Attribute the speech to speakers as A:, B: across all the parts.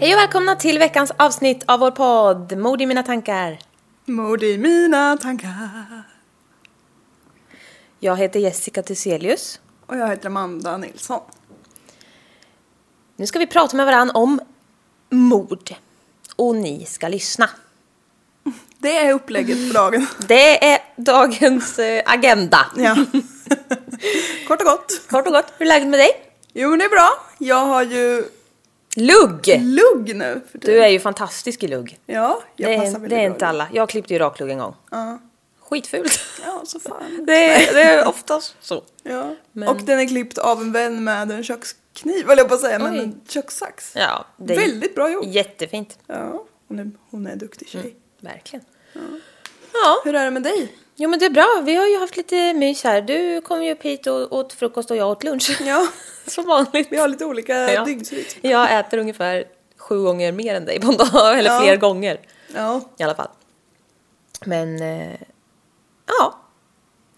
A: Hej och välkomna till veckans avsnitt av vår podd Mord i mina tankar.
B: Mord i mina tankar.
A: Jag heter Jessica Thyselius.
B: Och jag heter Amanda Nilsson.
A: Nu ska vi prata med varandra om mord. Och ni ska lyssna.
B: Det är upplägget för dagen.
A: Det är dagens eh, agenda.
B: Ja. Kort och gott.
A: Kort och gott, hur är läget med dig?
B: Jo men det är bra. Jag har ju
A: Lugg!
B: lugg nu. För
A: Du är ju fantastisk i lugg.
B: Ja, jag
A: det är,
B: passar väldigt
A: det är
B: bra
A: inte alla. Jag klippte ju raklugg en gång.
B: Ja.
A: Skitfult.
B: Ja, så fan.
A: Det är, det är oftast så.
B: Ja.
A: Men-
B: Och den är klippt av en vän med en kökskniv, eller jag på att säga, men
A: Oj.
B: en kökssax.
A: Ja, det är
B: Väldigt bra jobb.
A: jättefint.
B: Ja, hon är, hon är en duktig
A: Mm.
B: tjej.
A: Verkligen. Ja.
B: Hur är det med dig?
A: Jo men det är bra, vi har ju haft lite mys här. Du kom ju upp hit och åt frukost och jag åt lunch.
B: Ja,
A: Som vanligt.
B: vi har lite olika
A: Ja.
B: dygnsrytm.
A: Jag äter ungefär sju gånger mer än dig på en dag, eller
B: Ja.
A: fler gånger
B: Ja,
A: i alla fall. Men, eh, ja.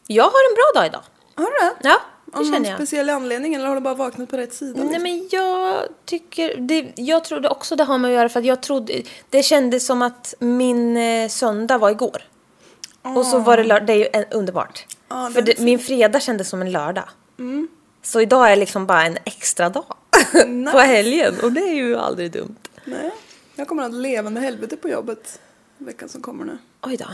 A: Jag har en bra dag idag.
B: har du det?
A: Ja, det
B: Av någon
A: känner jag.
B: speciell anledning eller har du bara vaknat på rätt sida?
A: Nej
B: liksom?
A: men jag tycker, det, jag trodde också det har med att göra för att jag trodde, det kändes som att min eh, söndag var igår. Och så var det lördag, det är ju en, underbart.
B: Liksom? Ah. Ja, det
A: för
B: är
A: det, min fredag kändes som en lördag.
B: Mm.
A: Så idag är liksom bara en extra dag på
B: Nice.
A: helgen och det är ju aldrig dumt.
B: Nej. Jag kommer att ha ett levande helvete på jobbet veckan som kommer nu.
A: Oj då.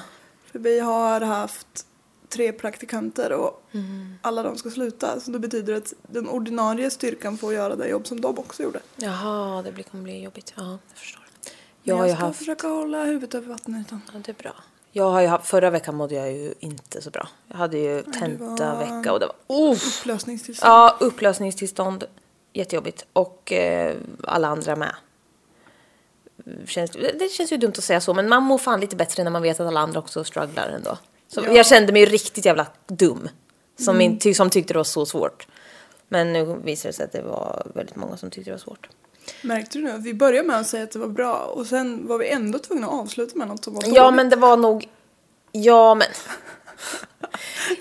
B: För vi har haft tre praktikanter och
A: Mm.
B: alla de ska sluta. Så det betyder att den ordinarie styrkan får göra det jobb som de också gjorde.
A: Jaha, det blir- kommer bli jobbigt. Ja, jag förstår. Jag
B: Men
A: har ju
B: jag ska
A: haft,
B: försöka hålla huvudet över vattenytan.
A: ja, det är bra. Jag har ju haft, förra veckan mådde jag ju inte så bra. Jag hade ju tentavecka och det var
B: Uff. Upplösningstillstånd.
A: Ja, upplösningstillstånd. Jättejobbigt. Och eh, alla andra med. Känns, det känns ju dumt att säga så, men man mår fan lite bättre när man vet att alla andra också strugglar ändå. Så
B: Ja. Mm.
A: Jag kände mig ju riktigt jävla dum. Som, min, ty, som tyckte det var så svårt. Men nu visar det sig att det var väldigt många som tyckte det var svårt.
B: Märkte du nu att vi började med att säga att det var bra och sen var vi ändå tvungna att avsluta med något som var dåligt.
A: Ja, men det var nog... Ja, men...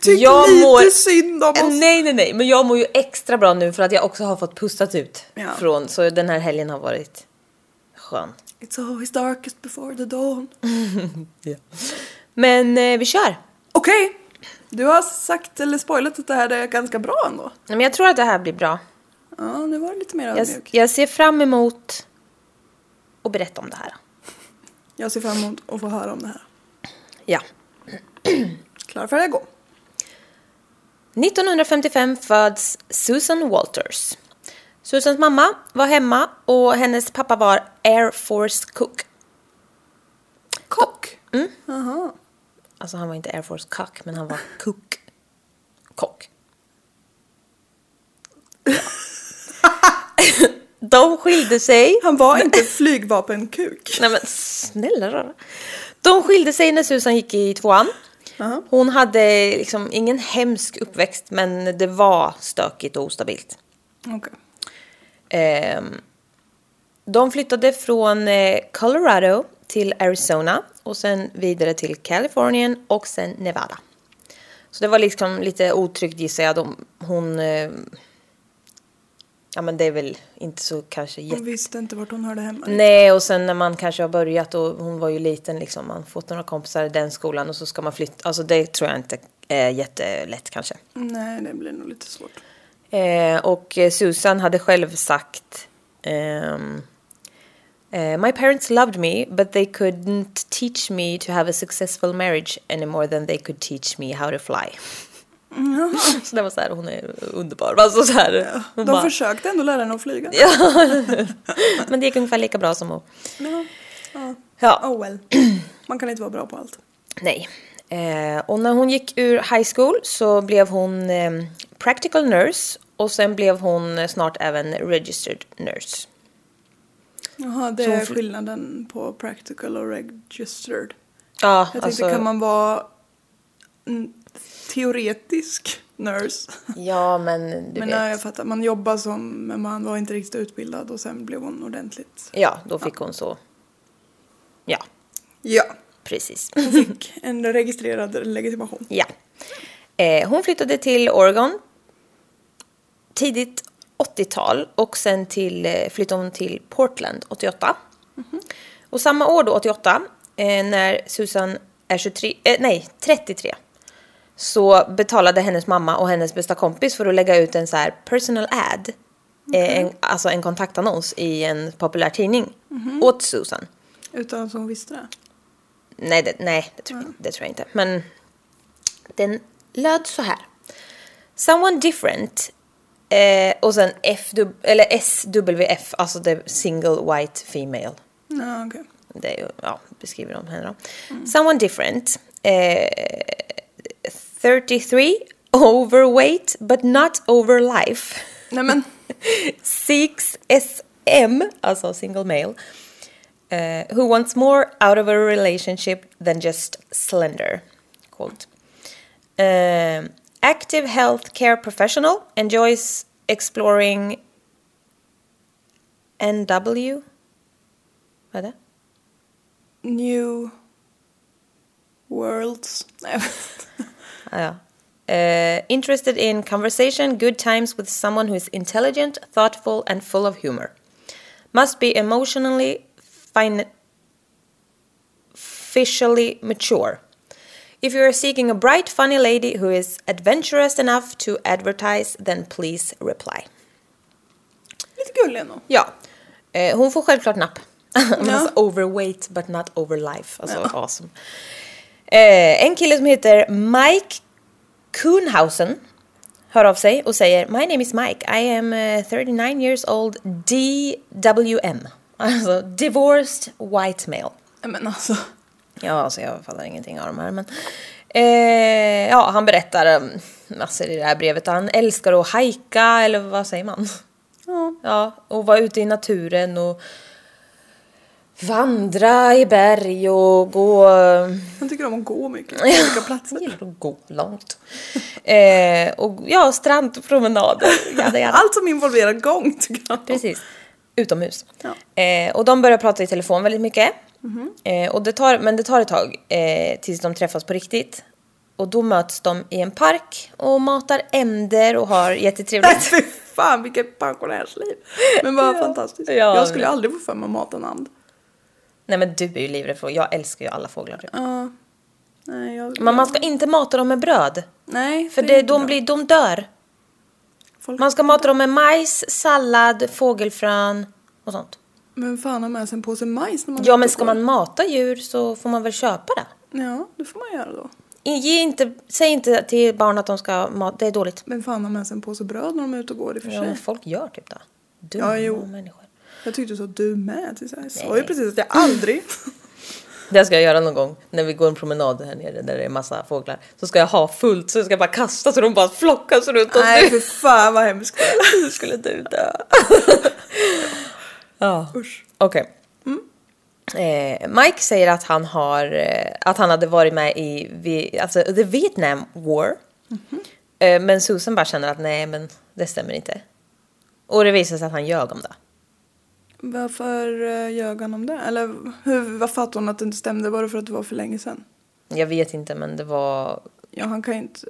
B: Tyck
A: jag
B: lite
A: mår-
B: synd om oss.
A: Nej, nej, nej, men jag mår ju extra bra nu för att jag också har fått pustat ut
B: Ja.
A: från, så den här helgen har varit skön.
B: It's always darkest before the dawn.
A: Men eh, vi kör!
B: Okej. Du har sagt eller spoilat att det här är ganska bra ändå.
A: Nej, Men jag tror att det här blir bra.
B: Ja, nu var det lite mer
A: Jag,
B: ödmjuk. Jag,
A: jag ser fram emot att berätta om det här.
B: ser fram emot att få höra om det här.
A: Ja.
B: Klar, färdig, gå.
A: 1955 föds Susan Walters. Susans mamma var hemma och hennes pappa var Air Force Cook. Mm.
B: Kock. Jaha.
A: Alltså han var inte Air Force Cook, men han var cook. Kock. Ja. De skilde sig.
B: Han var inte flygvapenkuk.
A: Nej men snälla rara. De skilde sig när Susan gick i tvåan.
B: Jaha.
A: Hon hade liksom ingen hemsk uppväxt men det var stökigt och ostabilt.
B: Okej.
A: Ehm, de flyttade från eh, Colorado till Arizona och sen vidare till Kalifornien och sen Nevada. Så det var liksom lite otryggt gissar jag. De, hon... Eh, ja men det är väl inte så kanske jätte...
B: Hon visste inte vart hon hörde hemma.
A: Nej, och sen när man kanske har börjat och hon var ju liten liksom, man har fått några kompisar i den skolan och så ska man flytta. Alltså det tror jag inte är jättelätt kanske.
B: Nej, det blir nog lite svårt.
A: Eh, och eh, Susan hade själv sagt ehm, eh, My parents loved me but they couldn't teach me to have a successful marriage any more than they could teach me how to fly.
B: Mm,
A: så det var så här, hon är underbar. Alltså så här, hon
B: De
A: bara,
B: försökte ändå lära henne att flyga.
A: men det gick ungefär lika bra som hon.
B: Ja. Ja.
A: Ja.
B: Oh well. Man kan inte vara bra på allt.
A: Nej. Eh, och när hon gick ur high school så blev hon ehm, practical nurse och sen blev hon eh, snart även registered nurse.
B: Jaha, det
A: Så hon
B: är
A: fly-
B: skillnaden på practical och registered.
A: Ja,
B: Jag tänkte,
A: alltså,
B: kan man vara en teoretisk nurse?
A: ja men du
B: men
A: vet.
B: nej, jag fattar, man jobbar som, men man var inte riktigt utbildad och sen blev hon ordentligt.
A: Ja, då fick hon så. Ja,
B: Ja,
A: precis.
B: hon fick en registrerad legitimation.
A: ja. Eh, hon flyttade till Oregon tidigt 80-tal och sen till, eh, flyttade hon till Portland 88. Och samma år då, 88, eh, när Susan är 23, eh, nej 33, så betalade hennes mamma och hennes bästa kompis för att lägga ut en så här personal ad. Eh, en, alltså en kontaktannons i en populär tidning åt Susan.
B: Utan att hon visste det.
A: Nej, det, nej det, tror jag, det tror jag inte. Men den löd så här. Someone different. Eh, och sen F, eller SWF, alltså the single white female.
B: Ja, okej.
A: Det är ju, ja, beskriver de henne då. Someone different. Eh, 33, overweight but not over life.
B: Nej men,
A: Seeks SM, alltså single male. eh, who wants more out of a relationship than just slender. Called. Um, active healthcare professional enjoys exploring NW. Vad är det?
B: new worlds. Nej, jag vet inte.
A: Ah, ja. Eh, interested in conversation, good times with someone who is intelligent, thoughtful and full of humor. Must be emotionally, fin- officially mature. If you are seeking a bright, funny lady who is adventurous enough to advertise, then please reply.
B: Lite gullig ändå.
A: Ja, eh, hon får självklart napp. Men
B: Ja.
A: alltså overweight but not overlife. Alltså awesome. Eh, en kille som heter Mike Kuhnhausen hör av sig och säger My name is Mike, I am eh, 39 years old DWM. Alltså divorced white male.
B: Nej men alltså.
A: Ja, alltså jag fattar ingenting av de här. Men, eh, ja, han berättar eh, massor i det här brevet. Han älskar att hajka, eller vad säger man?
B: Ja.
A: Ja, och vara ute i naturen och vandra i berg och gå...
B: Han tycker om att gå mycket. På olika
A: Jag
B: platser.
A: gillar att gå långt. Eh, och ja, strandpromenader. Jada, jada.
B: Allt som involverar gång tycker han om.
A: Precis. Utomhus.
B: Ja.
A: Eh, och de börjar prata i telefon väldigt mycket. Eh, och det tar, men det tar ett tag eh, tills de träffas på riktigt. Och då möts de i en park och matar änder och har
B: Nej
A: jättetrevligt.
B: fy fan vilket pensionärsliv. Men vad
A: Ja.
B: fantastiskt.
A: Ja,
B: jag
A: men-
B: skulle aldrig få för mig att mata en and.
A: Nej men du är ju livrädd för jag älskar ju alla fåglar. typ.
B: Ja. Nej jag...
A: Men man ska inte mata dem med bröd.
B: Nej.
A: För
B: är
A: det,
B: inte
A: de,
B: bra.
A: blir, de dör.
B: Folk...
A: Man ska mata dem med majs, sallad, fågelfrön och sånt.
B: Men fan ha med sig en påse majs när man
A: Ja
B: är
A: men
B: ute
A: ska
B: och går.
A: man mata djur så får man väl köpa det.
B: Ja det får man göra då.
A: Ge inte, säg inte till barn att de ska mata, det är dåligt.
B: Men fan har med sig en påse bröd när de är ute och går i och för
A: Ja, men
B: sig.
A: folk gör typ det.
B: Ja,
A: Dumma
B: jo.
A: människor.
B: Jag tyckte du sa du med. till så här. Jag sa
A: Nej.
B: ju precis att jag aldrig...
A: Det ska jag göra någon gång när vi går en promenad här nere där det är massa fåglar. Så ska jag ha fullt så jag ska bara kasta så de bara flockas runt oss.
B: Nej för fan vad hemskt.
A: Nu skulle du dö. ja,
B: Usch.
A: okej. Eh, Mike säger att han har, eh, att han hade varit med i vi, alltså, the Vietnam War.
B: Mhm.
A: Eh, men Susan bara känner att nej men det stämmer inte. Och det visar sig att han ljög om det.
B: Varför eh, ljög han om det? Eller hur, vad fattade hon att det inte stämde? Var det för att det var för länge sedan?
A: Jag vet inte men det var
B: Ja, han kan ju inte...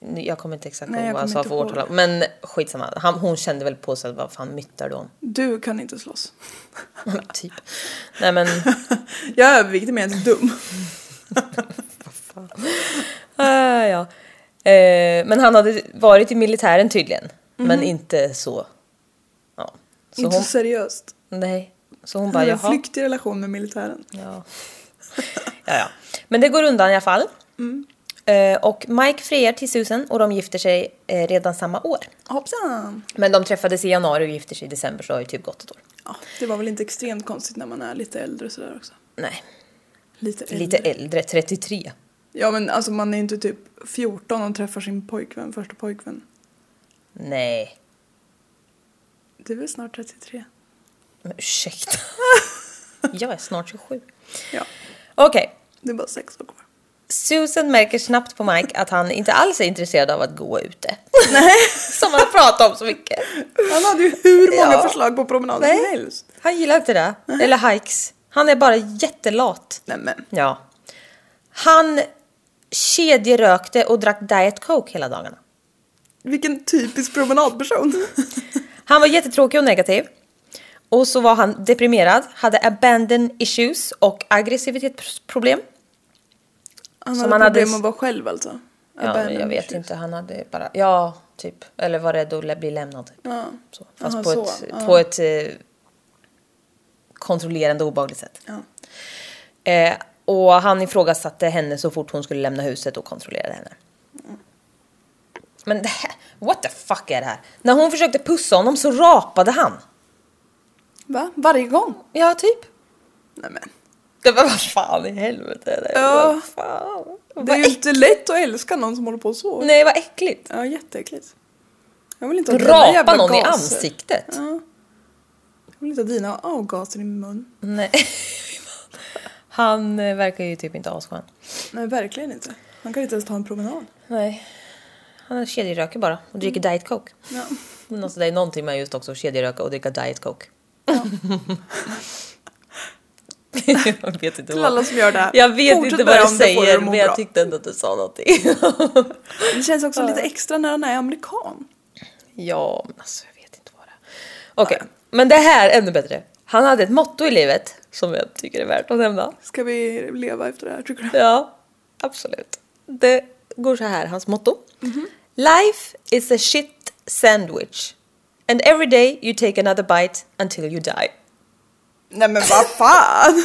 A: Nu- Jag kommer inte exakt
B: Nej,
A: ihåg
B: jag
A: vad han sa
B: kommer inte
A: för
B: ihåg
A: årtal. Men skitsamma. Han, hon kände väl på sig att vad fan myttar du om?
B: Du kan inte slåss.
A: typ. Nej men.
B: Jag är överviktig men jag är inte dum.
A: ah, ja. eh, men han hade varit i militären tydligen. Men inte så. Ja. Så
B: Mhm. inte
A: hon,
B: så seriöst.
A: nej. Så hon
B: Han
A: bara
B: har en
A: jaha.
B: flyktig relation med militären.
A: Ja. ja, ja. Men det går undan i alla fall. Eh, och Mike friar till Susan och de gifter sig eh, redan samma år.
B: Hoppsan!
A: Men de träffades i januari och gifter sig i december så har ju typ gått ett år.
B: Ja, det var väl inte extremt konstigt när man är lite äldre och sådär också.
A: Nej,
B: Lite äldre.
A: lite äldre, 33.
B: Ja men alltså man är ju inte typ 14 och träffar sin pojkvän, första pojkvän.
A: Nej,
B: Du är väl snart 33?
A: men ursäkta. Jag är snart 27.
B: Ja,
A: Okej,
B: det är bara sex år kvar.
A: Susan märker snabbt på Mike att han inte alls är intresserad av att gå ute. Som han har pratat om så mycket.
B: Han hade ju hur många
A: Ja.
B: förslag på promenader
A: Nej.
B: som helst.
A: Han gillar inte det. Eller hikes. Han är bara jättelat.
B: Nej men.
A: Ja. Han kedjerökte och drack Diet Coke hela dagarna.
B: Vilken typisk promenadperson.
A: Han var jättetråkig och negativ. Och så var han deprimerad, hade abandon issues och aggressivitetsproblem.
B: Han
A: Som
B: hade
A: han hade
B: problem
A: s-
B: att vara själv alltså?
A: Ja, jag vet inte, han hade bara, ja, typ. Eller var rädd att lä- bli lämnad.
B: Ja.
A: Så, fast
B: Aha,
A: på,
B: så,
A: ett,
B: ja.
A: på ett eh, kontrollerande och obehagligt sätt.
B: Ja.
A: Eh, och han ifrågasatte henne så fort hon skulle lämna huset och kontrollerade henne. Men det här, what the fuck är det här? När hon försökte pussa honom så rapade han.
B: Va? Varje gång?
A: Ja, typ.
B: Nej men.
A: Det var vad fan i helvete är det?
B: Ja.
A: Vad fan?
B: Det är
A: Vad
B: ju
A: äck-
B: inte lätt att älska någon som håller på så.
A: Nej, vad äckligt.
B: Ja, jätteäckligt. Jag vill inte ha dina
A: Rapa
B: jävla
A: någon i
B: gaser.
A: ansiktet.
B: Ja. Jag vill inte ha dina avgaser i min mun.
A: Nej. Han eh, verkar ju typ inte asskön.
B: Nej, verkligen inte. Han kan inte ens ta en promenad.
A: Nej. Han kedjeröker bara och dricker
B: Mm.
A: diet coke.
B: Ja.
A: Alltså, det är någonting med just också att kedjeröka och dricka diet coke. jag vet inte
B: Till
A: vad.
B: alla som gör det här.
A: Jag vet
B: fortsätt
A: inte
B: med
A: vad
B: det
A: jag
B: om det får dig
A: säger
B: att må
A: men jag
B: bra.
A: tyckte ändå att du sa någonting.
B: Det känns också lite extra när han är amerikan.
A: ja, men alltså jag vet inte vad det är. Okej, men det här är ännu bättre. Han hade ett motto i livet som jag tycker är värt att nämna.
B: Ska vi leva efter det här tycker du?
A: Ja, absolut. Det går så här, hans motto.
B: Mhm.
A: Life is a shit sandwich. And every day you take another bite until you die.
B: Nej men vad fan!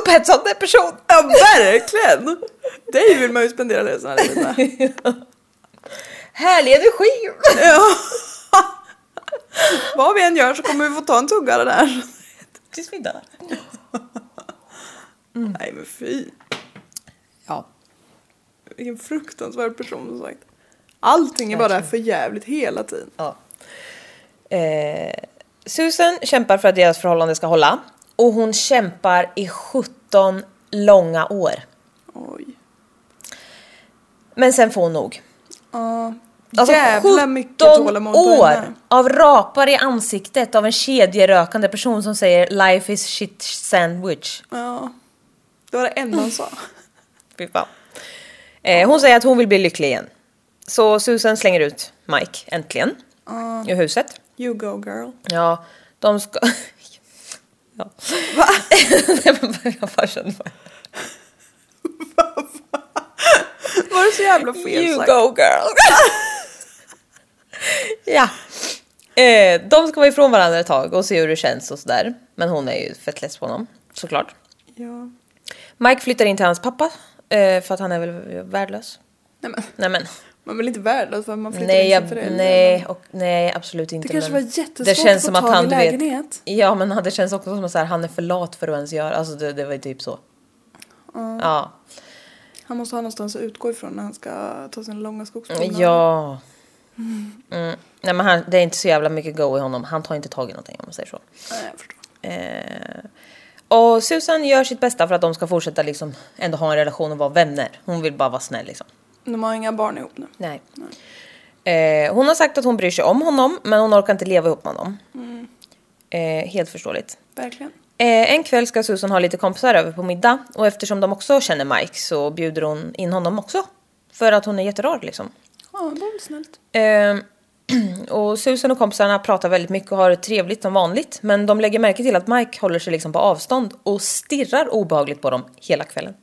A: Upphetsande person!
B: Ja verkligen! Dig vill man ju spendera resten av livet med.
A: Härlig energi!
B: Ja. Vad vi än gör så kommer vi få ta en tugga av det där.
A: Tills vi dör.
B: Nej men fy.
A: Ja.
B: Vilken fruktansvärd person som sagt. Allting är bara för jävligt hela tiden.
A: ja. Eh, Susan kämpar för att deras förhållande ska hålla. Och hon kämpar i 17 långa år.
B: Oj.
A: Men sen får hon nog.
B: Ja.
A: Alltså
B: Jävla
A: 17
B: mycket tålamod på
A: år
B: henne.
A: av rapar i ansiktet av en kedjerökande person som säger “Life is shit sandwich”.
B: Ja. Det var det enda han sa.
A: Fy fan. Eh, hon säger att hon vill bli lycklig igen. Så Susan slänger ut Mike, äntligen,
B: Ja.
A: ur huset.
B: You go girl.
A: Ja, de ska... ja.
B: Va?
A: Nej, men jag bara känner bara...
B: Var det så jävla fel
A: You
B: sagt?
A: go girl! ja. Eh, de ska vara ifrån varandra ett tag och se hur det känns och sådär. Men hon är ju fett less på honom, såklart.
B: Ja.
A: Mike flyttar in till hans pappa eh, för att han är väl värdelös.
B: Nej men
A: Nej men.
B: man blir inte värdelös för att man flyttar
A: Nej,
B: in
A: jag,
B: som förälder.
A: nej, och, nej absolut inte.
B: Det kanske var
A: men
B: jättesvårt
A: det känns
B: att få
A: som att
B: tag
A: han,
B: i
A: du vet-
B: lägenhet.
A: Ja men det känns också som att så här, han är för lat för att ens göra, alltså det, det var ju typ så.
B: Ja.
A: Ja.
B: Han måste ha någonstans att utgå ifrån när han ska ta sin långa skogspromenad.
A: Ja. Mm. Nej men han, det är inte så jävla mycket go i honom, han tar inte tag i någonting om man säger så.
B: Nej, jag förstår.
A: Eh, och Susan gör sitt bästa för att de ska fortsätta liksom ändå ha en relation och vara vänner. Hon vill bara vara snäll liksom.
B: De har inga barn ihop nu.
A: Nej. Eh, hon har sagt att hon bryr sig om honom men hon orkar inte leva ihop med honom. Eh, helt förståeligt.
B: Verkligen.
A: Eh, en kväll ska Susan ha lite kompisar över på middag och eftersom de också känner Mike så bjuder hon in honom också. För att hon är jätterar liksom.
B: Ja, det var väl snällt.
A: Eh, och Susan och kompisarna pratar väldigt mycket och har det trevligt som vanligt men de lägger märke till att Mike håller sig liksom på avstånd och stirrar obehagligt på dem hela kvällen.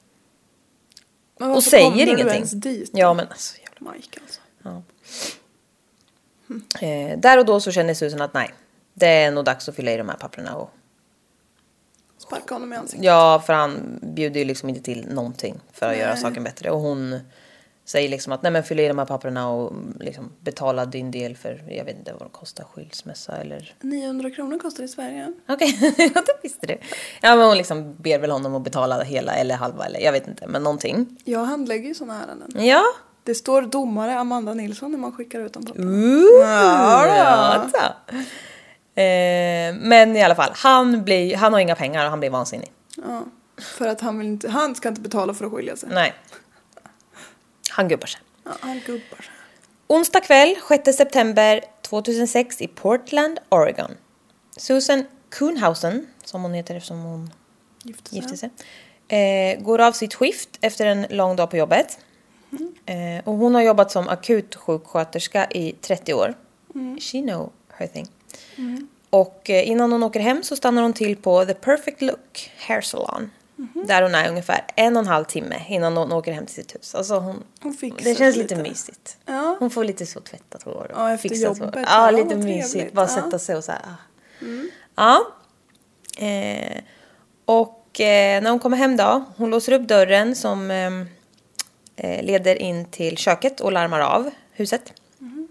B: Men
A: Och
B: varför
A: säger
B: kommer
A: ingenting.
B: Du ens dit?
A: Ja men alltså,
B: Mike alltså.
A: Eh, där och då så känner Susan att nej, det är nog dags att fylla i de här papperna. Och,
B: Sparka honom i ansiktet.
A: ja, för han bjuder ju liksom inte till någonting för att göra
B: Nej.
A: saken bättre. Och hon säger liksom att nej men fyll i de här papperna och liksom betala din del för, jag vet inte vad det kostar, skilsmässa eller...
B: 900 kronor kostar det i Sverige.
A: Okej, ja det visste du. Ja men hon liksom ber väl honom att betala hela eller halva eller jag vet inte, men någonting.
B: Jag handlägger ju sådana ärenden.
A: Ja.
B: Det står domare Amanda Nilsson när man skickar ut dem på
A: Ooh,
B: Ja, då.
A: så. Eh, men i alla fall, han, blir, han har inga pengar och han blir vansinnig.
B: Ja. För att han vill inte, han ska inte betala för att skilja sig.
A: Nej. Han gubbar sig.
B: Ja, han gubbar sig.
A: Onsdag kväll, 6 september 2006 i Portland, Oregon. Susan Kuhnhausen, som hon heter eftersom hon
B: Gifte sig.
A: gifte sig, eh, går av sitt skift efter en lång dag på jobbet. Eh, och hon har jobbat som akutsjuksköterska i 30 år. She know her thing. Och eh, innan hon åker hem så stannar hon till på The Perfect Look Hair Salon. Där hon är ungefär en och en halv timme innan hon åker hem till sitt hus. Alltså hon,
B: Hon fixar
A: det känns
B: sig
A: lite
B: lite.
A: mysigt.
B: Ja.
A: Hon får lite så tvättat hår och
B: Ja, efter
A: fixat hår.
B: jobbet.
A: Ja,
B: Ja,
A: lite
B: vad
A: mysigt.
B: trevligt.
A: Bara
B: Ja. Mm.
A: sätta sig och så här. ah. Ja. Eh, och eh, när hon kommer hem då, hon låser upp dörren som ehm, eh, leder in till köket och larmar av huset.
B: Mm.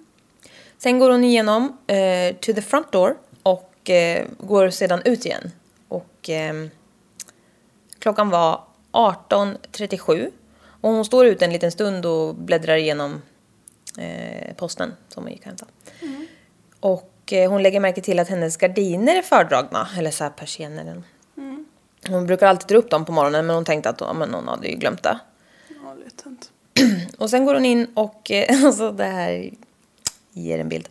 A: Sen går hon igenom eh, to the front door och eh, går sedan ut igen. Och ehm, klockan var 18.37 och hon står ute en liten stund och bläddrar igenom eh, posten som hon gick och hämtade. Och eh, hon lägger märke till att hennes gardiner är fördragna, eller så här persienner. eller- Hon brukar alltid dra upp dem på morgonen men hon tänkte att ja, men hon hade ju glömt det.
B: Ja, lite tönt.
A: Och sen går hon in och, eh, alltså det här ger en bild.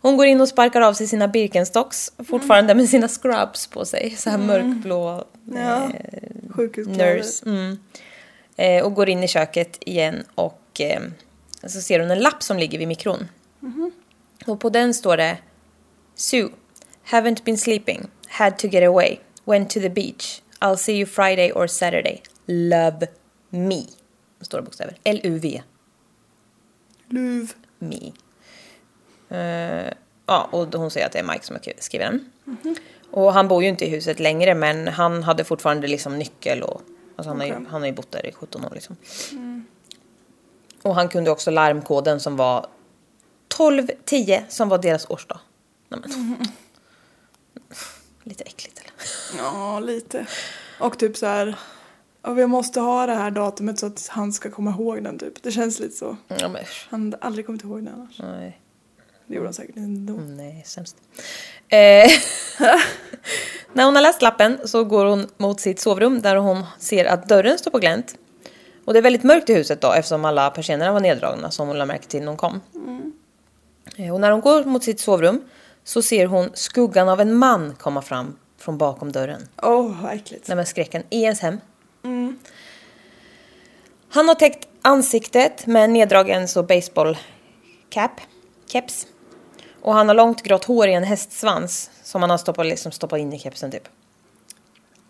A: Hon går in och sparkar av sig sina Birkenstocks, fortfarande med sina scrubs på sig. Så här mörkblå
B: Ja. Sjukhuskläder.
A: Eh, nurse. Mm. Eh, och går in i köket igen och eh, så ser hon en lapp som ligger vid mikron. Och på den står det Sue, haven't been sleeping, had to get away, went to the beach, I'll see you Friday or Saturday, love me. Stora bokstäver. L-U-V.
B: Luv.
A: Me. Eh, ja, och hon säger att det är Mike som har skrivit den. Och han bor ju inte i huset längre men han hade fortfarande liksom nyckel och alltså han, har ju,
B: Okej.
A: han har ju bott där i 17 år liksom. Och han kunde också larmkoden som var 1210 som var deras årsdag. Nej, men. Lite äckligt eller?
B: Ja, lite. Och typ så här. Ja, vi måste ha det här datumet så att han ska komma ihåg den typ. Det känns lite så.
A: Ja, men, usch.
B: Han hade aldrig kommit ihåg den annars.
A: Nej.
B: Det gjorde han säkert ändå.
A: Nej, sämst. Eh, när hon har läst lappen så går hon mot sitt sovrum där hon ser att dörren står på glänt. Och det är väldigt mörkt i huset då eftersom alla persiennerna var neddragna som hon lade märke till när hon kom. Eh, Och när hon går mot sitt sovrum så ser hon skuggan av en man komma fram från bakom dörren.
B: Åh, vad äckligt.
A: Nej men skräcken, i ens hem. Han har täckt ansiktet med en neddragen så baseball cap, keps. Och han har långt grått hår i en hästsvans som han har stoppat, liksom stoppat in i kepsen typ.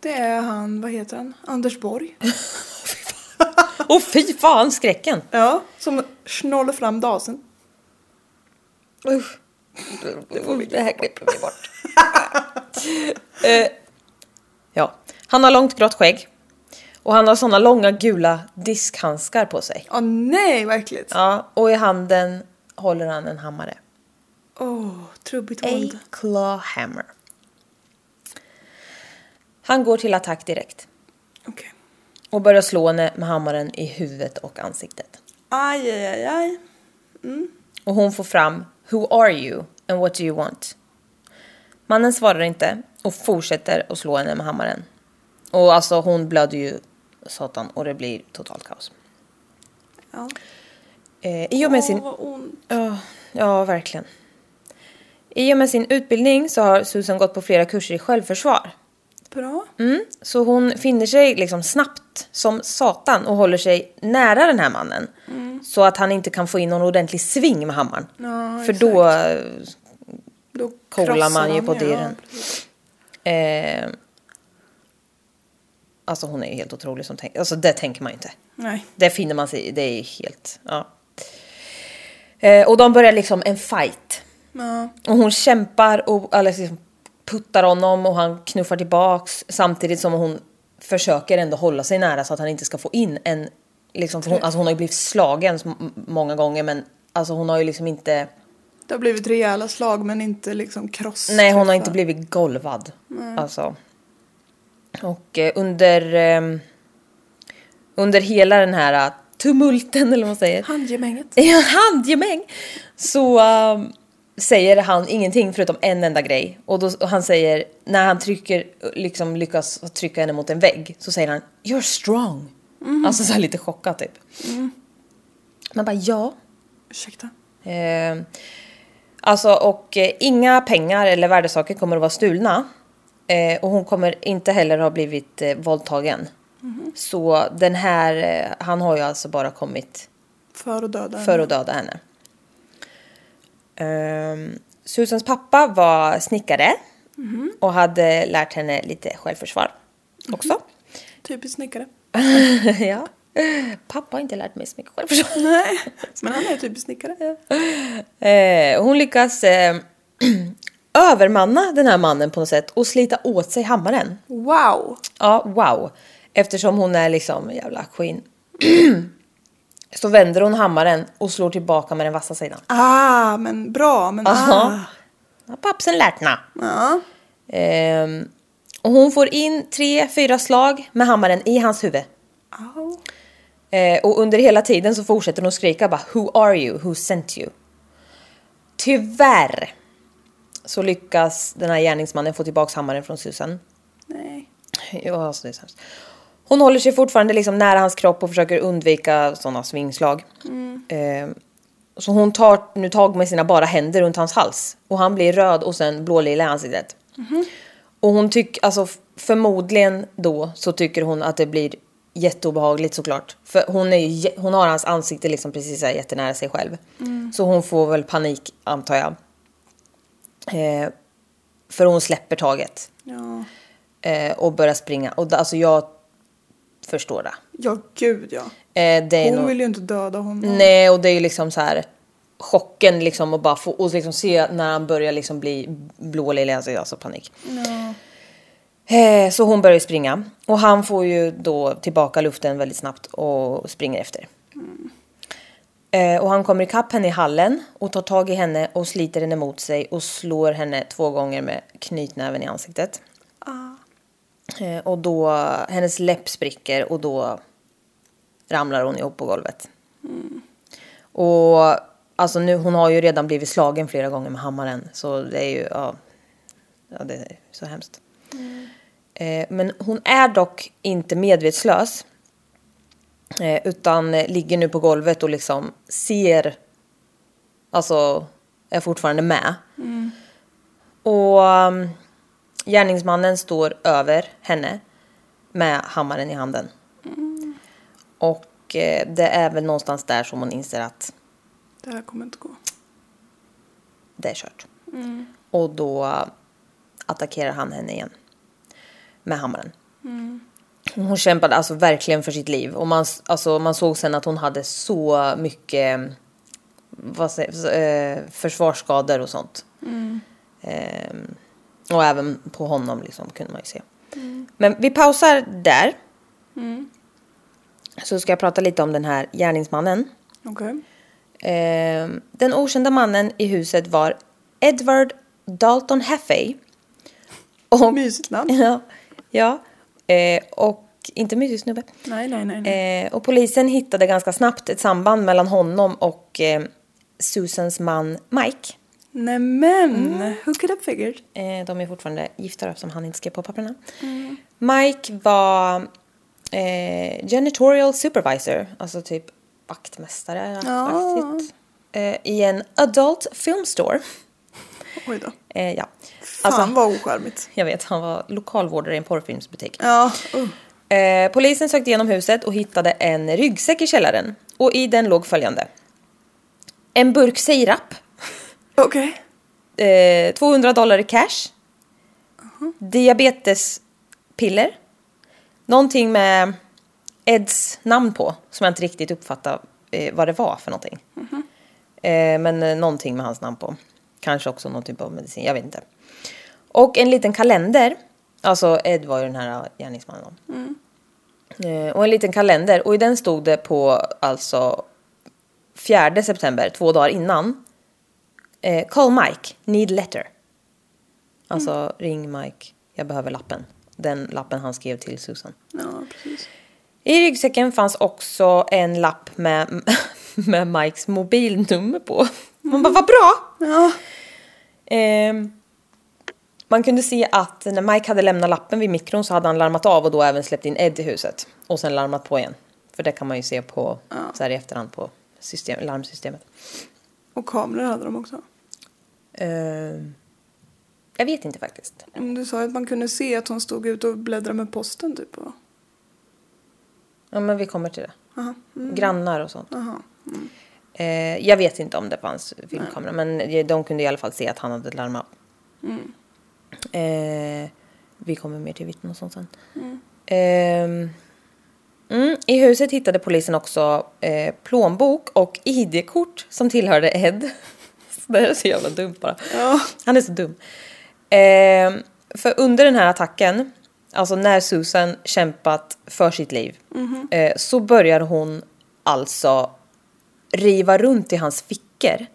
B: Det är han, vad heter han? Anders Borg.
A: Åh fy fan skräcken!
B: Ja, som snålar fram dasen.
A: Usch. Det här klipper vi bort. Eh, ja, han har långt grått skägg. Och han har såna långa gula diskhandskar på sig.
B: Åh nej, vad äckligt.
A: Ja, och i handen håller han en hammare.
B: Åh, trubbigt
A: A
B: våld.
A: claw hammer. Han går till attack direkt
B: Okej.
A: och börjar slå henne med hammaren i huvudet och ansiktet.
B: Aj, aj, aj, aj. Mm,
A: Och hon får fram “Who are you and what do you want?” Mannen svarar inte och fortsätter att slå henne med hammaren. Och alltså hon blöder ju satan och det blir totalt kaos.
B: Ja.
A: Eh, I och med sin
B: Åh, vad ont.
A: Ja, ja, verkligen. I och med sin utbildning så har Susan gått på flera kurser i självförsvar.
B: Bra.
A: Mm, så hon finner sig liksom snabbt som satan och håller sig nära den här mannen. Så att han inte kan få in någon ordentlig sving med hammaren.
B: Ja,
A: För då...
B: Då
A: kollar
B: krossar
A: man ju
B: han
A: på
B: ja,
A: dyren.
B: precis.
A: Eh, alltså hon är ju helt otrolig som tänker... Alltså det tänker man ju inte.
B: Nej.
A: Det finner man sig i. Det är helt... Ja. Eh, och de börjar liksom en fight.
B: Ja.
A: Och hon kämpar och eller liksom puttar honom och han knuffar tillbaks samtidigt som hon försöker ändå hålla sig nära så att han inte ska få in en... Liksom, för hon, alltså hon har ju blivit slagen så m- många gånger men alltså hon har ju liksom inte...
B: Det har blivit rejäla slag men inte liksom kross.
A: Nej hon har inte
B: träffar.
A: blivit golvad. Alltså. Och eh, under... ehm, under hela den här eh, tumulten eller vad man säger.
B: Handgemänget.
A: i en handgemäng så ehm, säger han ingenting förutom en enda grej. Och, då, och han säger, när han trycker, liksom lyckas trycka henne mot en vägg så säger han “You're strong”. Alltså så här lite chockad typ. Man bara ja.
B: Ursäkta.
A: Eh, alltså och eh, inga pengar eller värdesaker kommer att vara stulna. Eh, och hon kommer inte heller ha blivit eh, våldtagen. Så den här, eh, han har ju alltså bara kommit
B: För att döda
A: för
B: henne.
A: att döda henne. Ehm, Susans pappa var snickare och hade lärt henne lite självförsvar också.
B: Typiskt snickare.
A: ja. Pappa har inte lärt mig så mycket självförsvar.
B: Nej, men han är typiskt snickare.
A: Eh, hon lyckas eh, övermanna den här mannen på något sätt och slita åt sig hammaren.
B: Wow!
A: Ja, wow. Eftersom hon är liksom jävla queen. Så vänder hon hammaren och slår tillbaka med den vassa sidan.
B: Ah, men bra, men ah.
A: Ja. Har pappsen lärt na.
B: Ja.
A: Ehm, och hon får in tre, fyra slag med hammaren i hans huvud.
B: Au.
A: Eh, och under hela tiden så fortsätter hon skrika bara Who are you? Who sent you? Tyvärr så lyckas den här gärningsmannen få tillbaks hammaren från Susan.
B: Nej.
A: Ja, alltså det är så hemskt. Hon håller sig fortfarande liksom nära hans kropp och försöker undvika sådana svingslag. Eh, så hon tar nu tag med sina bara händer runt hans hals. Och han blir röd och sen blålila i ansiktet. Och hon tycker, alltså f- förmodligen då så tycker hon att det blir jätteobehagligt såklart. För hon, är ju, jä- hon har hans ansikte liksom precis så här jättenära sig själv. Så hon får väl panik antar jag. Eh, för hon släpper taget
B: Ja.
A: eh, och börjar springa. Och da- alltså jag förstår det.
B: Ja, gud ja.
A: Eh, det är
B: Hon
A: nog-
B: vill ju inte döda honom.
A: Nej, och det är ju liksom så här chocken liksom och bara få och liksom se när han börjar liksom bli blålila, alltså jag har så panik.
B: Ja.
A: Eh, så hon börjar ju springa och han får ju då tillbaka luften väldigt snabbt och springer efter. Eh, och han kommer ikapp henne i hallen och tar tag i henne och sliter henne mot sig och slår henne två gånger med knytnäven i ansiktet.
B: Ah.
A: Eh, Och då, hennes läpp spricker och då ramlar hon ihop på golvet. Och alltså nu, hon har ju redan blivit slagen flera gånger med hammaren. Så det är ju, ja, ja det är så hemskt. Eh, Men hon är dock inte medvetslös. eh, Utan eh, ligger nu på golvet och liksom ser, alltså är fortfarande med. Och um, gärningsmannen står över henne med hammaren i handen. Och eh, det är väl någonstans där som hon inser att
B: Det här kommer inte gå.
A: det är kört. Och då attackerar han henne igen med hammaren. Hon kämpade alltså verkligen för sitt liv och man, s- alltså, man såg sen att hon hade så mycket vad säger, eh, försvarsskador och sånt. Ehm, och även på honom liksom, kunde man ju se. Men vi pausar där. Så ska jag prata lite om den här gärningsmannen.
B: Okej.
A: Eh, den okända mannen i huset var Edward Dalton Haffey. Och,
B: Mysigt namn.
A: ja, ja, eh, och inte mysig snubbe.
B: Nej, nej, nej. nej.
A: Eh, och polisen hittade ganska snabbt ett samband mellan honom och eh, Susans man Mike.
B: Nämen!
A: Mm.
B: Hook it up figured.
A: Eh, de är fortfarande gifta då, som han inte skrev på papperna.
B: Mm.
A: Mike var eh, janitorial supervisor, alltså typ vaktmästare
B: Ja.
A: aktigt, eh, i en adult film store.
B: Oj då.
A: Eh, ja.
B: Fan
A: Alltså,
B: vad ocharmigt.
A: jag vet, han var lokalvårdare i en porrfilmsbutik.
B: Ja. Uh.
A: Eh, polisen sökte igenom huset och hittade en ryggsäck i källaren. Och i den låg följande. En burk sirap,
B: Okej.
A: eh, 200 dollar i cash. Diabetespiller. Någonting med Eds namn på som jag inte riktigt uppfattade eh, vad det var för någonting. Eh, men eh, någonting med hans namn på. Kanske också någon typ av medicin, jag vet inte. Och en liten kalender. Alltså Ed var ju den här gärningsmannen. då. Eh, och en liten kalender och i den stod det på alltså 4 september, två dagar innan. Eh, call Mike, need letter. Alltså ring Mike, jag behöver lappen. Den lappen han skrev till Susan.
B: Ja, precis.
A: I ryggsäcken fanns också en lapp med, med Mikes mobilnummer på. Man bara, vad bra!
B: Mm. Ja.
A: Ehm, man kunde se att när Mike hade lämnat lappen vid mikron så hade han larmat av och då även släppt in Ed i huset. Och sen larmat på igen. För det kan man ju se på, så här i efterhand på system, larmsystemet.
B: Och kameror hade de också.
A: Ehm, jag vet inte faktiskt.
B: Mm, Du sa ju att man kunde se att hon stod ute och bläddrade med posten typ. Och...
A: Ja men vi kommer till det.
B: Aha. Mm.
A: Grannar och sånt.
B: Aha.
A: Eh, jag vet inte om det fanns filmkamera, men eh, de kunde i alla fall se att han hade larmat. Eh, vi kommer mer till vittnen och sånt sen. Ehm, mm, I huset hittade polisen också eh, plånbok och ID-kort som tillhörde Ed. Så det här är så jävla dumt bara.
B: Ja.
A: Han är så dum. Ehm, för under den här attacken, alltså när Susan kämpat för sitt liv, eh, så börjar hon alltså riva runt i hans fickor.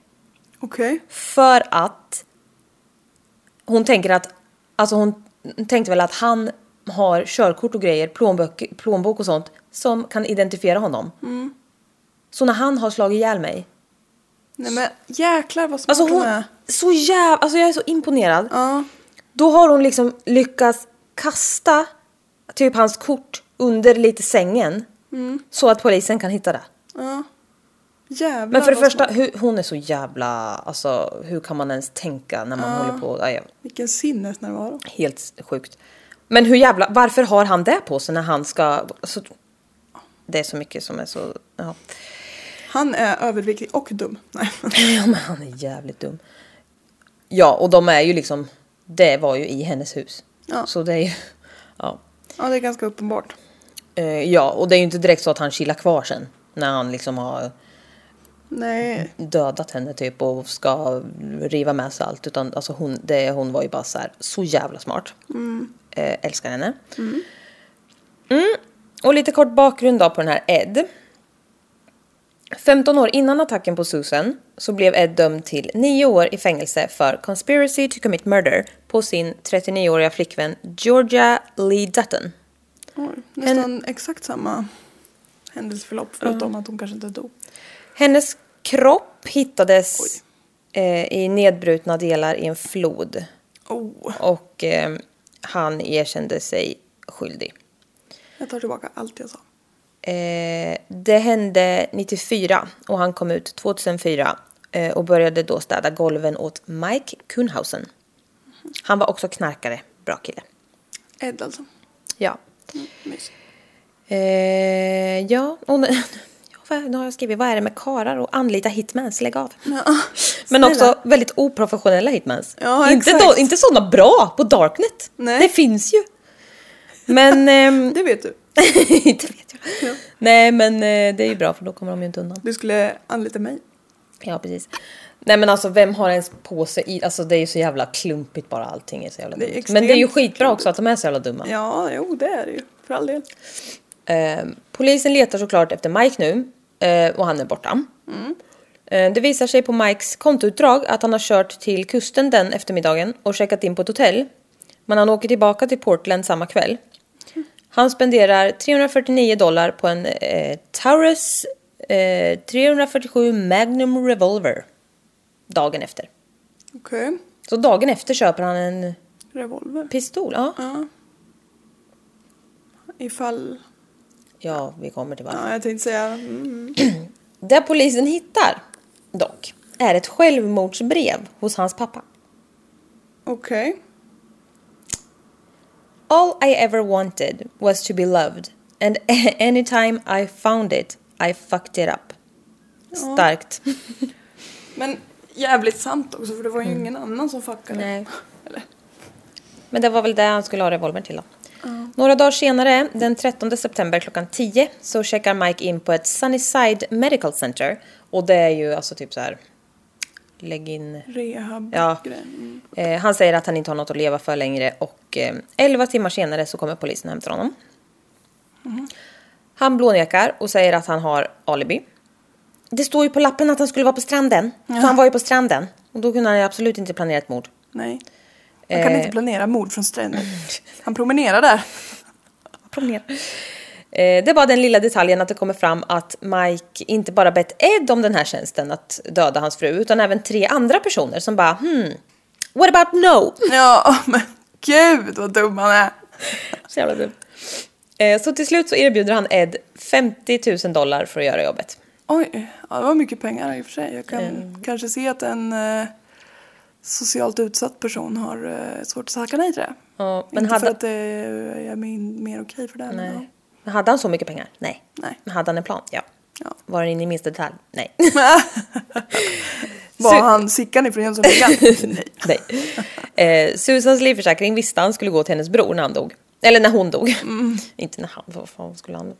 B: Okej.
A: För att hon tänker att, alltså hon tänkte väl att han har körkort och grejer, plånbok, plånbok och sånt som kan identifiera honom. Så när han har slagit ihjäl mig,
B: Nej men jäklar vad smart
A: alltså
B: hon
A: hon,
B: är.
A: så jävla, alltså jag är så imponerad.
B: Ja.
A: Då har hon liksom lyckats kasta typ hans kort under lite sängen
B: Mm.
A: så att polisen kan hitta det.
B: ja. Jävlar
A: Men för det
B: vad
A: första,
B: smart.
A: hur, hon är så jävla, alltså hur kan man ens tänka när man håller på, nej, jag-
B: Vilken sinnesnärvaro.
A: Helt sjukt. Men hur jävla, varför har han det på sig när han ska... Alltså, det är så mycket som är så... Ja.
B: Han är överviktig och dum. Nej.
A: ja, men han är jävligt dum. Ja, och de är ju liksom... Det var ju i hennes hus.
B: Ja.
A: Så det är ju... Ja.
B: Ja det är ganska uppenbart.
A: Eh, ja, och det är ju inte direkt så att han chillar kvar sen. När han liksom har
B: Nej.
A: dödat henne typ och ska riva med sig allt. Utan alltså hon, det, hon var ju bara så här, så jävla smart. Eh, älskar henne. Mm. Och lite kort bakgrund då på den här Ed. 15 år innan attacken på Susan så blev Ed dömd till 9 år i fängelse för conspiracy to commit murder på sin 39-åriga flickvän Georgia Lee Dutton.
B: Oj, nästan exakt samma händelseförlopp förutom att hon kanske inte dog.
A: Hennes kropp hittades eh, i nedbrutna delar i en flod.
B: Oh,
A: Och eh, han erkände sig skyldig.
B: jag tar tillbaka allt jag sa.
A: Eh, det hände 94 och han kom ut 2004 eh, och började då städa golven åt Mike Kuhnhausen. Han var också knarkare, bra kille.
B: Ed alltså.
A: Ja.
B: Mm, mys.
A: Eh, ja, och nu, ja, vad- nu har jag skrivit vad är det med karar och anlita hitmans, lägg av.
B: Ja.
A: Men
B: ah, Snälla.
A: också väldigt oprofessionella hitmans.
B: Ja,
A: inte,
B: exakt.
A: då, inte sådana bra på Darknet.
B: Nej.
A: Det finns ju. Men... ehm,
B: Det vet du.
A: inte vet jag.
B: Ja.
A: Nej men eh, det är ju bra för då kommer de ju inte undan.
B: Du skulle anlita mig.
A: Ja precis. Nej men alltså vem har ens på sig i, alltså det är ju så jävla klumpigt bara allting är så jävla
B: Det är
A: dumt. Men
B: extremt
A: det är ju skitbra också att de är så jävla dumma.
B: Ja, jo det är det ju. För all del.
A: Eh, polisen letar såklart efter Mike nu eh, och han är borta. Eh, det visar sig på Mikes kontoutdrag att han har kört till kusten den eftermiddagen och checkat in på ett hotell. Men han åker tillbaka till Portland samma kväll. Han spenderar 349 dollar på en eh, Taurus eh, 347 Magnum Revolver dagen efter.
B: Okej.
A: Så dagen efter köper han en
B: Revolver.
A: pistol. Ja,
B: Ja. Ifall...
A: ja vi kommer till varför.
B: Ja, jag tänkte säga... Mm.
A: Det polisen hittar, dock, är ett självmordsbrev hos hans pappa.
B: Okej.
A: All I ever wanted was to be loved and anytime I found it I fucked it up. Starkt.
B: Men jävligt sant också för det var ju ingen annan som fuckade.
A: Nej.
B: Eller?
A: Men det var väl det han skulle ha revolvern till då. Några dagar senare, den 13 september klockan 10, så checkar Mike in på ett Sunnyside Medical Center. Och det är ju alltså typ så här... Lägg in...
B: Rehab
A: Ja.
B: grej. Mm.
A: Eh, han säger att han inte har något att leva för längre och eh, 11 timmar senare så kommer polisen och hämtar honom.
B: Mm.
A: Han blånekar och säger att han har alibi. Det står ju på lappen att han skulle vara på stranden. Så han var ju på stranden. Och då kunde han ju absolut inte planera ett mord.
B: Nej. Man kan
A: Eh.
B: inte planera mord från stränder. Han promenerar där.
A: Promenera. Eh, det är bara den lilla detaljen att det kommer fram att Mike inte bara bett Ed om den här tjänsten att döda hans fru utan även tre andra personer som bara hmm, what about no?
B: Ja, men gud vad dum han är.
A: Så jävla dumt. Eh, Så till slut så erbjuder han Ed 50 000 dollar för att göra jobbet.
B: Oj, ja, det var mycket pengar i och för sig. Jag kan
A: Ehm.
B: kanske se att en eh, socialt utsatt person har eh, svårt att tacka nej till det.
A: Ja, men
B: Inte
A: hade-
B: för att det är min, mer okej för den.
A: Nej.
B: Nej.
A: Men hade han så mycket pengar? Nej.
B: Nej.
A: Men hade han en plan? Ja.
B: Ja.
A: Var den inne i minsta detalj? Nej.
B: Var
A: Så-
B: han Sickan ifrån Jönssonligan? Nej.
A: Nej. Eh, Susans livförsäkring visste han skulle gå till hennes bror när han dog. Eller när hon dog. Inte när han, vad fan skulle han...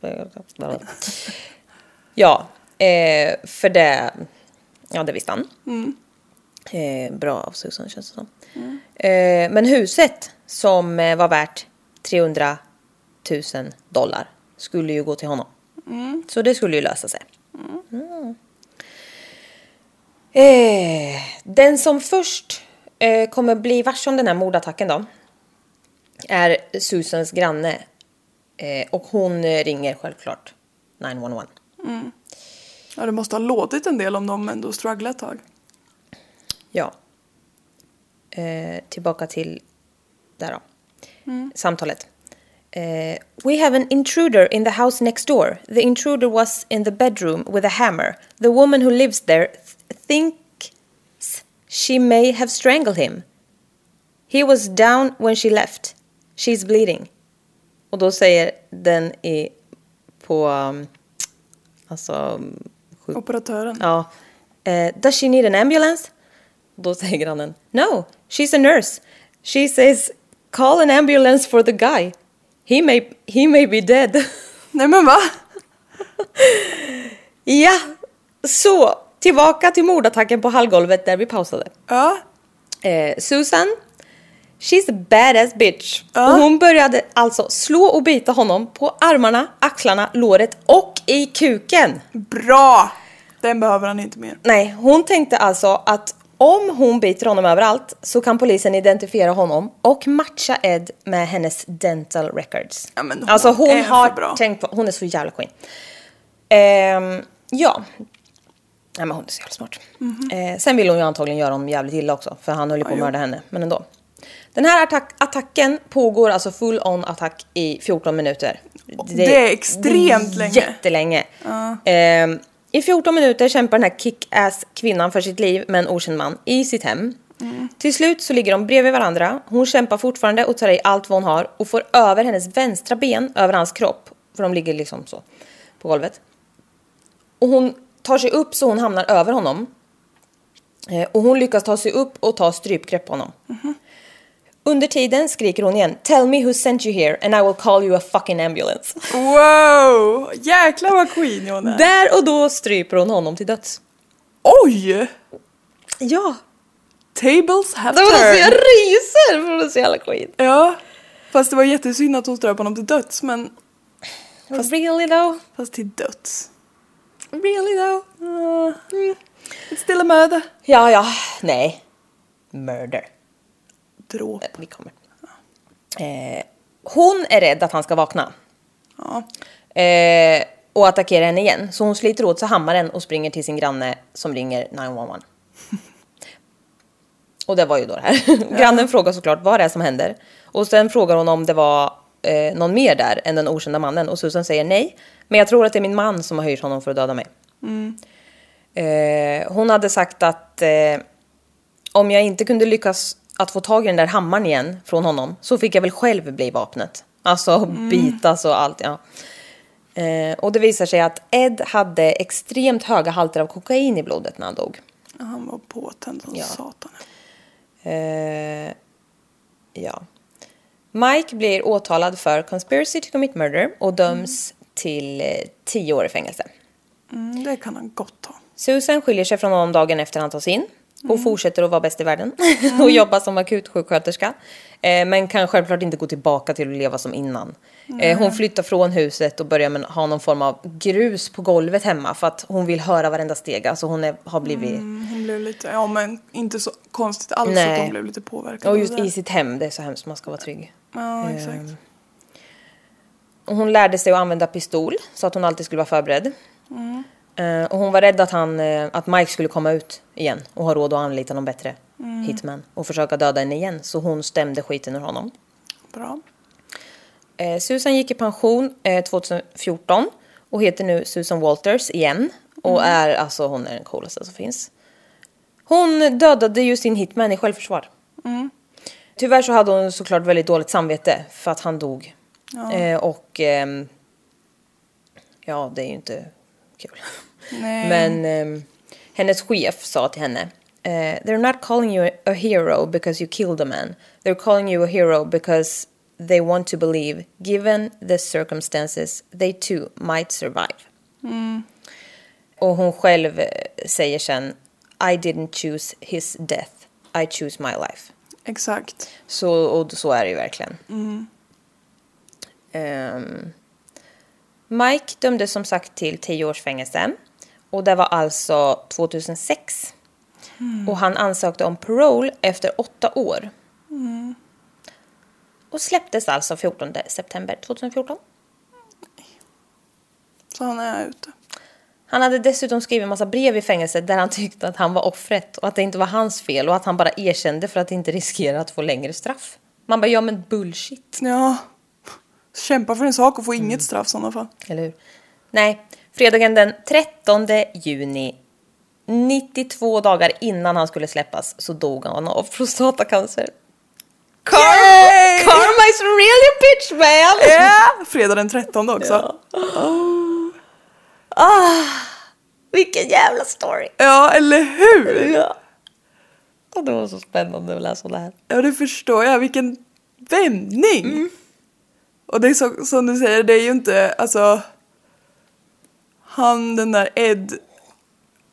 A: Ja, eh, för det... Ja, det visste han. Eh, bra av Susan känns det som. Eh, men huset som eh, var värt 300 000 dollar skulle ju gå till honom. Så det skulle ju lösa sig. Eh, den som först eh, kommer bli varse om den här mordattacken då är Susans granne. Eh, och hon eh, ringer självklart 911.
B: Ja, det måste ha låtit en del om de ändå strugglade ett tag.
A: Mm. Ja. Eh, tillbaka till där då. Samtalet. Eh, we have an intruder in the house next door. The intruder was in the bedroom with a hammer. The woman who lives there th- thinks she may have strangled him. He was down when she left. She's bleeding. Och då säger den i på um, alltså sjuk-
B: Operatören.
A: Ja. Eh, does she need an ambulance? Då säger grannen. No, she's a nurse. She says call an ambulance for the guy. He may, he may be dead.
B: Nej men va?
A: ja, så tillbaka till mordattacken på hallgolvet där vi pausade.
B: Ja.
A: Eh, Susan, she's a badass bitch.
B: Ja.
A: Och hon började alltså slå och bita honom på armarna, axlarna, låret och i kuken.
B: Bra! Den behöver han inte mer.
A: Nej, hon tänkte alltså att om hon biter honom överallt så kan polisen identifiera honom och matcha Ed med hennes dental records.
B: Ja, men hon
A: alltså hon
B: är för
A: har
B: bra.
A: tänkt på, hon är så jävla queen. Ehm, ja. Nej men hon är så jävla smart.
B: Mhm.
A: Eh, sen vill hon ju antagligen göra honom jävligt illa också för han höll ju på att mörda henne. Men ändå. Den här attack- attacken pågår alltså full on attack i 14 minuter.
B: det är extremt länge.
A: Jättelänge. Ehm, I 14 minuter kämpar den här kick-ass kvinnan för sitt liv med en okänd man i sitt hem.
B: Mm.
A: Till slut så ligger de bredvid varandra. Hon kämpar fortfarande och tar i allt vad hon har och får över hennes vänstra ben över hans kropp. För de ligger liksom så på golvet. Och hon tar sig upp så hon hamnar över honom. Eh, Och hon lyckas ta sig upp och ta strypgrepp på honom. Under tiden skriker hon igen “Tell me who sent you here and I will call you a fucking ambulance”.
B: Wow! Jäklar vad queen hon är.
A: Där och då stryper hon honom till döds.
B: Oj!
A: Ja!
B: Tables have
A: Det var alltså, jag
B: turned.
A: ryser för hon är så jävla queen.
B: Ja. Fast det var jättesynd att hon ströp honom till döds men...
A: Really though?
B: Fast till döds.
A: Really though?
B: Uh, mm. It's still a murder.
A: Ja, ja. Nej. Murder.
B: Dråp.
A: Eh, Vi kommer. Eh, hon är rädd att han ska vakna.
B: Ja.
A: Eh, och attackerar henne igen. Så hon sliter åt sig hammaren och springer till sin granne som ringer 911. och det var ju då det här. Grannen frågar såklart vad det är som händer. Och sen frågar hon om det var eh, någon mer där än den okända mannen. Och Susan säger nej. Men jag tror att det är min man som har hyrt honom för att döda mig. Eh, hon hade sagt att eh, om jag inte kunde lyckas att få tag i den där hammaren igen från honom så fick jag väl själv bli vapnet. Alltså bitas och allt. Ja. Eh, och det visar sig att Ed hade extremt höga halter av kokain i blodet när han dog.
B: Han var påtänd som
A: Ja.
B: satan.
A: Eh, ja. Mike blir åtalad för conspiracy to commit murder och döms till eh, 10 år i fängelse.
B: Mm, det kan han gott ha.
A: Susan skiljer sig från honom dagen efter han tas in och fortsätter att vara bäst i världen och jobba som akutsjuksköterska. Eh, men kan självklart inte gå tillbaka till att leva som innan. Eh, hon flyttar från huset och börjar med, ha någon form av grus på golvet hemma för att hon vill höra varenda steg. Alltså hon är, har blivit...
B: Mm, hon blev lite, ja men inte så konstigt alls
A: Nej.
B: att hon blev lite påverkad.
A: Och
B: av
A: just Ehm.
B: det.
A: i sitt hem, det är så hemskt, man ska vara trygg.
B: Ja, exakt.
A: Och hon lärde sig att använda pistol så att hon alltid skulle vara förberedd. Eh, och hon var rädd att, han, eh, att Mike skulle komma ut igen och ha råd att anlita någon bättre hitman och försöka döda henne igen. Så hon stämde skiten ur honom.
B: Bra.
A: Eh, Susan gick i pension eh, 2014 och heter nu Susan Walters igen. Och är alltså, hon är den coolaste som finns. Hon dödade ju sin hitman i självförsvar. Tyvärr så hade hon såklart väldigt dåligt samvete för att han dog. Eh, och ehm, ja, det är ju inte kul.
B: Nej.
A: Men ehm, hennes chef sa till henne eh, “They're not calling you a hero because you killed a man. They're calling you a hero because they want to believe, given the circumstances, they too might survive.” Och hon själv eh, säger sen “I didn't choose his death, I choose my life”.
B: Exakt.
A: Så, och så är det ju verkligen. Ehm, Mike dömdes som sagt till 10 års fängelse. Och det var alltså 2006. Och han ansökte om parole efter åtta år. Och släpptes alltså 14 september 2014.
B: Så han är ute.
A: Han hade dessutom skrivit en massa brev i fängelset där han tyckte att han var offret och att det inte var hans fel och att han bara erkände för att inte riskera att få längre straff. Man bara, ja men bullshit.
B: Ja. Kämpa för en sak och få
A: Mm.
B: inget straff i sådana fall.
A: Eller hur? Nej, fredagen den 13 juni, 92 dagar innan han skulle släppas, så dog han av prostatacancer. Karma,
B: Yay!
A: karma is really a bitch man!
B: Ja! Fredag den 13 också. Ja,
A: Ah, vilken jävla story!
B: eller hur?
A: Ja. Och det var så spännande att läsa det här.
B: Ja, det förstår jag. Vilken vändning!
A: Mm.
B: Och det är så, som du säger, det är ju inte, alltså... Han, den där Ed,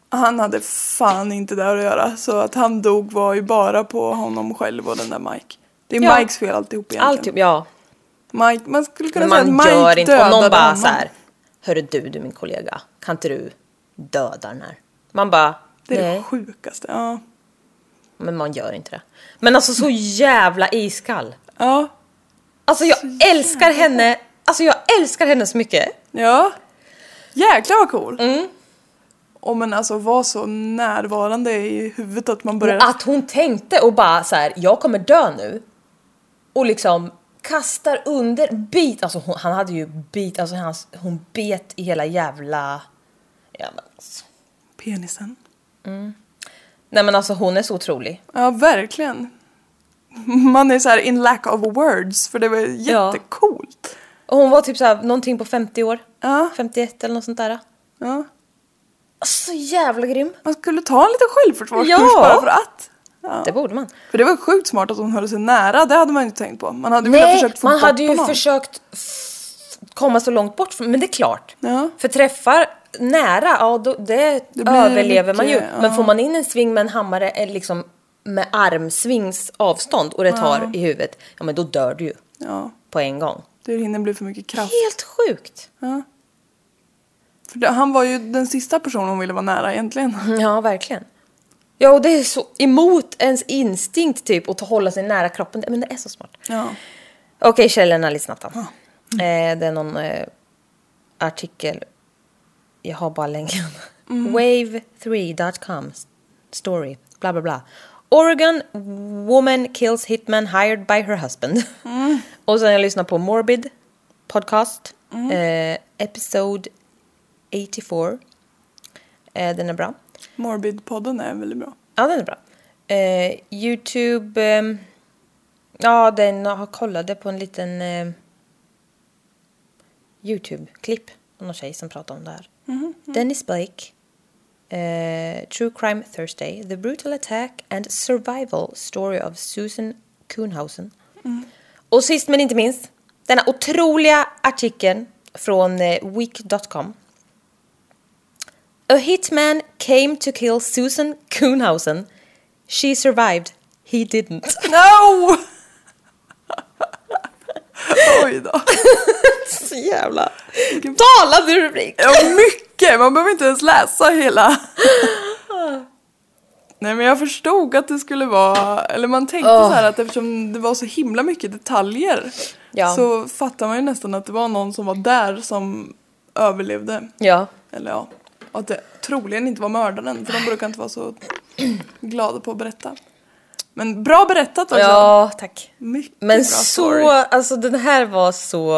B: han hade fan inte där att göra. Så att han dog var ju bara på honom själv och den där Mike. Det är
A: Ja.
B: Mikes fel alltihop egentligen.
A: Alltid, ja.
B: Mike, man skulle kunna
A: Men
B: säga att
A: man
B: Mike
A: gör inte... Om
B: dödade
A: någon bara
B: honom.
A: så här, Hörru du, du min kollega, kan inte du döda den här? Man bara,
B: Det är
A: nej.
B: det sjukaste. Ja.
A: Men man gör inte det. Men alltså så jävla iskall.
B: Ja.
A: Alltså jag älskar henne. Alltså jag älskar henne så mycket.
B: Ja. Jäklar vad cool.
A: Mm.
B: Och men alltså var så närvarande i huvudet att man börjar...
A: Att hon tänkte och bara så här, jag kommer dö nu. Och liksom kastar under, bit, alltså hon, han hade ju bit, alltså hans, hon bet i hela jävla... Ja, men alltså.
B: Penisen.
A: Nej men alltså hon är så otrolig.
B: Ja, verkligen. Man är så här in lack of words för det var
A: Ja.
B: jättecoolt.
A: Och hon var typ så här, någonting på 50 år.
B: Ja.
A: 51 eller något sånt där.
B: Ja.
A: Så jävla grym.
B: Man skulle ta en liten självförsvarskurs
A: Ja.
B: bara för att. Ja.
A: Det borde man.
B: För det var sjukt smart att hon höll sig nära, det hade man ju inte tänkt på. Man hade ju velat
A: Nej,
B: försökt få
A: man
B: bort
A: hade ju
B: honom.
A: försökt f- komma så långt bort från, men det är klart.
B: Ja.
A: För träffar nära, ja då, det,
B: Det blir
A: överlever man ju.
B: mycket, ja.
A: Men får man in en sving med en hammare eller liksom med armsvings avstånd och det tar i huvudet, ja men då dör du ju
B: Ja,
A: på en gång.
B: det hinner bli för mycket kraft.
A: Helt sjukt!
B: Ja. För det, han var ju den sista personen hon ville vara nära egentligen.
A: Mm, Ja, verkligen. Ja, och det är så emot ens instinkt typ att hålla sig nära kroppen. Men det är så smart.
B: Ja.
A: Okej, källorna lite snabbt då. eh, Det är någon eh, artikel. Jag har bara länken. Wave3.com story. Bla bla bla. Oregon woman kills hitman hired by her husband. Och sen jag lyssnar på Morbid podcast. Eh, episode 84. Eh, den är bra.
B: Morbid-podden är väldigt bra.
A: Ja, den är bra. Eh, Youtube... ehm, ja, den har kollade på en liten eh, Youtube-klipp av någon tjej som pratade om det här. Dennis Blake. Eh, True Crime Thursday. The Brutal Attack and Survival Story of Susan Kuhnhausen. Och sist men inte minst, denna otroliga artikeln från eh, week.com. A hitman came to kill Susan Kuhnhausen. She survived. He didn't.
B: No! Oj då.
A: Så jävla talande rubrik!
B: Ja, mycket! Man behöver inte ens läsa hela. Nej men jag förstod att det skulle vara, eller man tänkte
A: Åh.
B: så här att eftersom det var så himla mycket detaljer
A: Ja.
B: så fattar man ju nästan att det var någon som var där som överlevde.
A: Ja.
B: Eller ja, att det troligen inte var mördaren för de brukar inte vara så glada på att berätta. Men bra berättat också.
A: Ja, tack.
B: Mycket
A: Men
B: bra story.
A: så, alltså den här var så...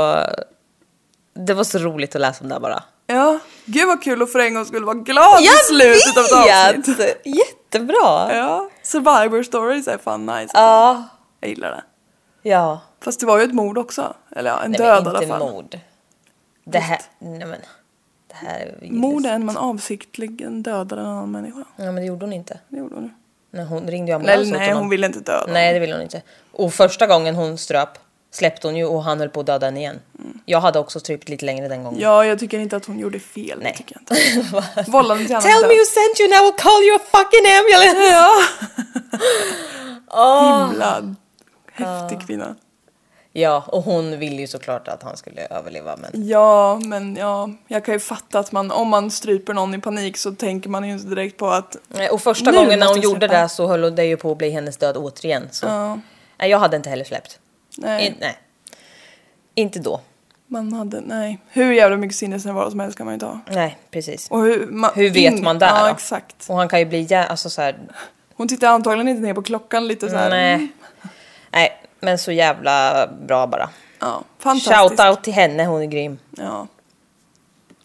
A: Det var så roligt att läsa om det här bara.
B: Ja, gud vad kul att för en gång skulle vara glad i slutet av ett avsnitt.
A: vet! Jättebra!
B: Ja, survivor stories är fan nice.
A: Ja.
B: Jag gillar det.
A: Ja.
B: Fast det var ju ett mord också. Eller ja, en
A: Nej,
B: död i
A: men
B: alla
A: inte
B: fall.
A: mord. Det här... Nej men. Det här är ju-
B: Mord är när man avsiktligen dödar en annan människa.
A: Ja, men det gjorde hon inte.
B: Det gjorde hon ju.
A: Nej, hon ringde ju ambulans
B: Eller
A: åt
B: nej,
A: honom.
B: hon ville inte döda honom.
A: Nej, det ville hon inte. Och första gången hon ströp släppte hon ju och han höll på att döda henne igen. Jag hade också strypt lite längre den gången.
B: Ja, jag tycker inte att hon gjorde fel. Nej. Tycker jag inte. Vållande till annans
A: Tell me who sent you and I will call you a fucking ambulance!
B: Ja.
A: Åh.
B: Himla häftig kvinna.
A: Ja, och hon ville ju såklart att han skulle överleva men...
B: Ja, men ja, jag kan ju fatta att man, om man stryper någon i panik så tänker man ju inte direkt på att
A: Nej, Och första
B: Nu
A: gången när
B: måste
A: hon
B: jag
A: gjorde
B: släppa.
A: det så höll hon- det ju på att bli hennes död återigen. Så.
B: ja,
A: Nej, jag hade inte heller släppt. In,
B: nej,
A: nej. Inte då.
B: man hade, nej. Hur jävla mycket sinnesnärvaro som helst kan man ju inte ha.
A: Nej, precis.
B: Och hur, ma-
A: Hur vet man där
B: Ja,
A: då?
B: exakt.
A: Och han kan ju bli jä- alltså så här,
B: Hon tittar antagligen inte ner på klockan lite så här.
A: nej. nej, men så jävla bra bara.
B: Ja, fantastiskt.
A: Shout out till henne, hon är grym.
B: Ja.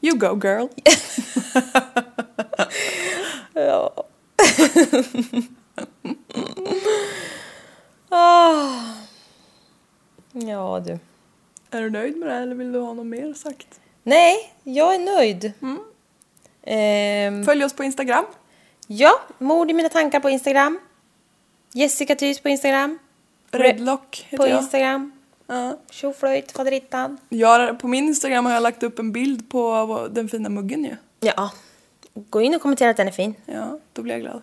B: You go girl.
A: Ja. ah. Ja du.
B: Är du nöjd med det här, eller vill du ha något mer sagt?
A: Nej, jag är nöjd.
B: Mm.
A: Ehm,
B: Följ oss på Instagram.
A: ja, mord i mina tankar på Instagram. Jessica Thys på Instagram.
B: Redlock heter
A: På
B: jag.
A: Instagram.
B: Ja.
A: Tjoflöjt, faderittan.
B: jag. På min Instagram har jag lagt upp en bild på vår- den fina muggen ju.
A: Ja. Gå in och kommentera att den är fin.
B: Ja, då blir jag glad.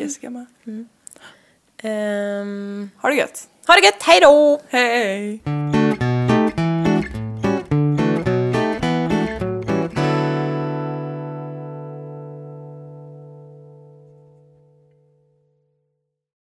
B: Jessica med.
A: Ehm,
B: Ha det gött.
A: ha det gött, hej då!
B: Hej!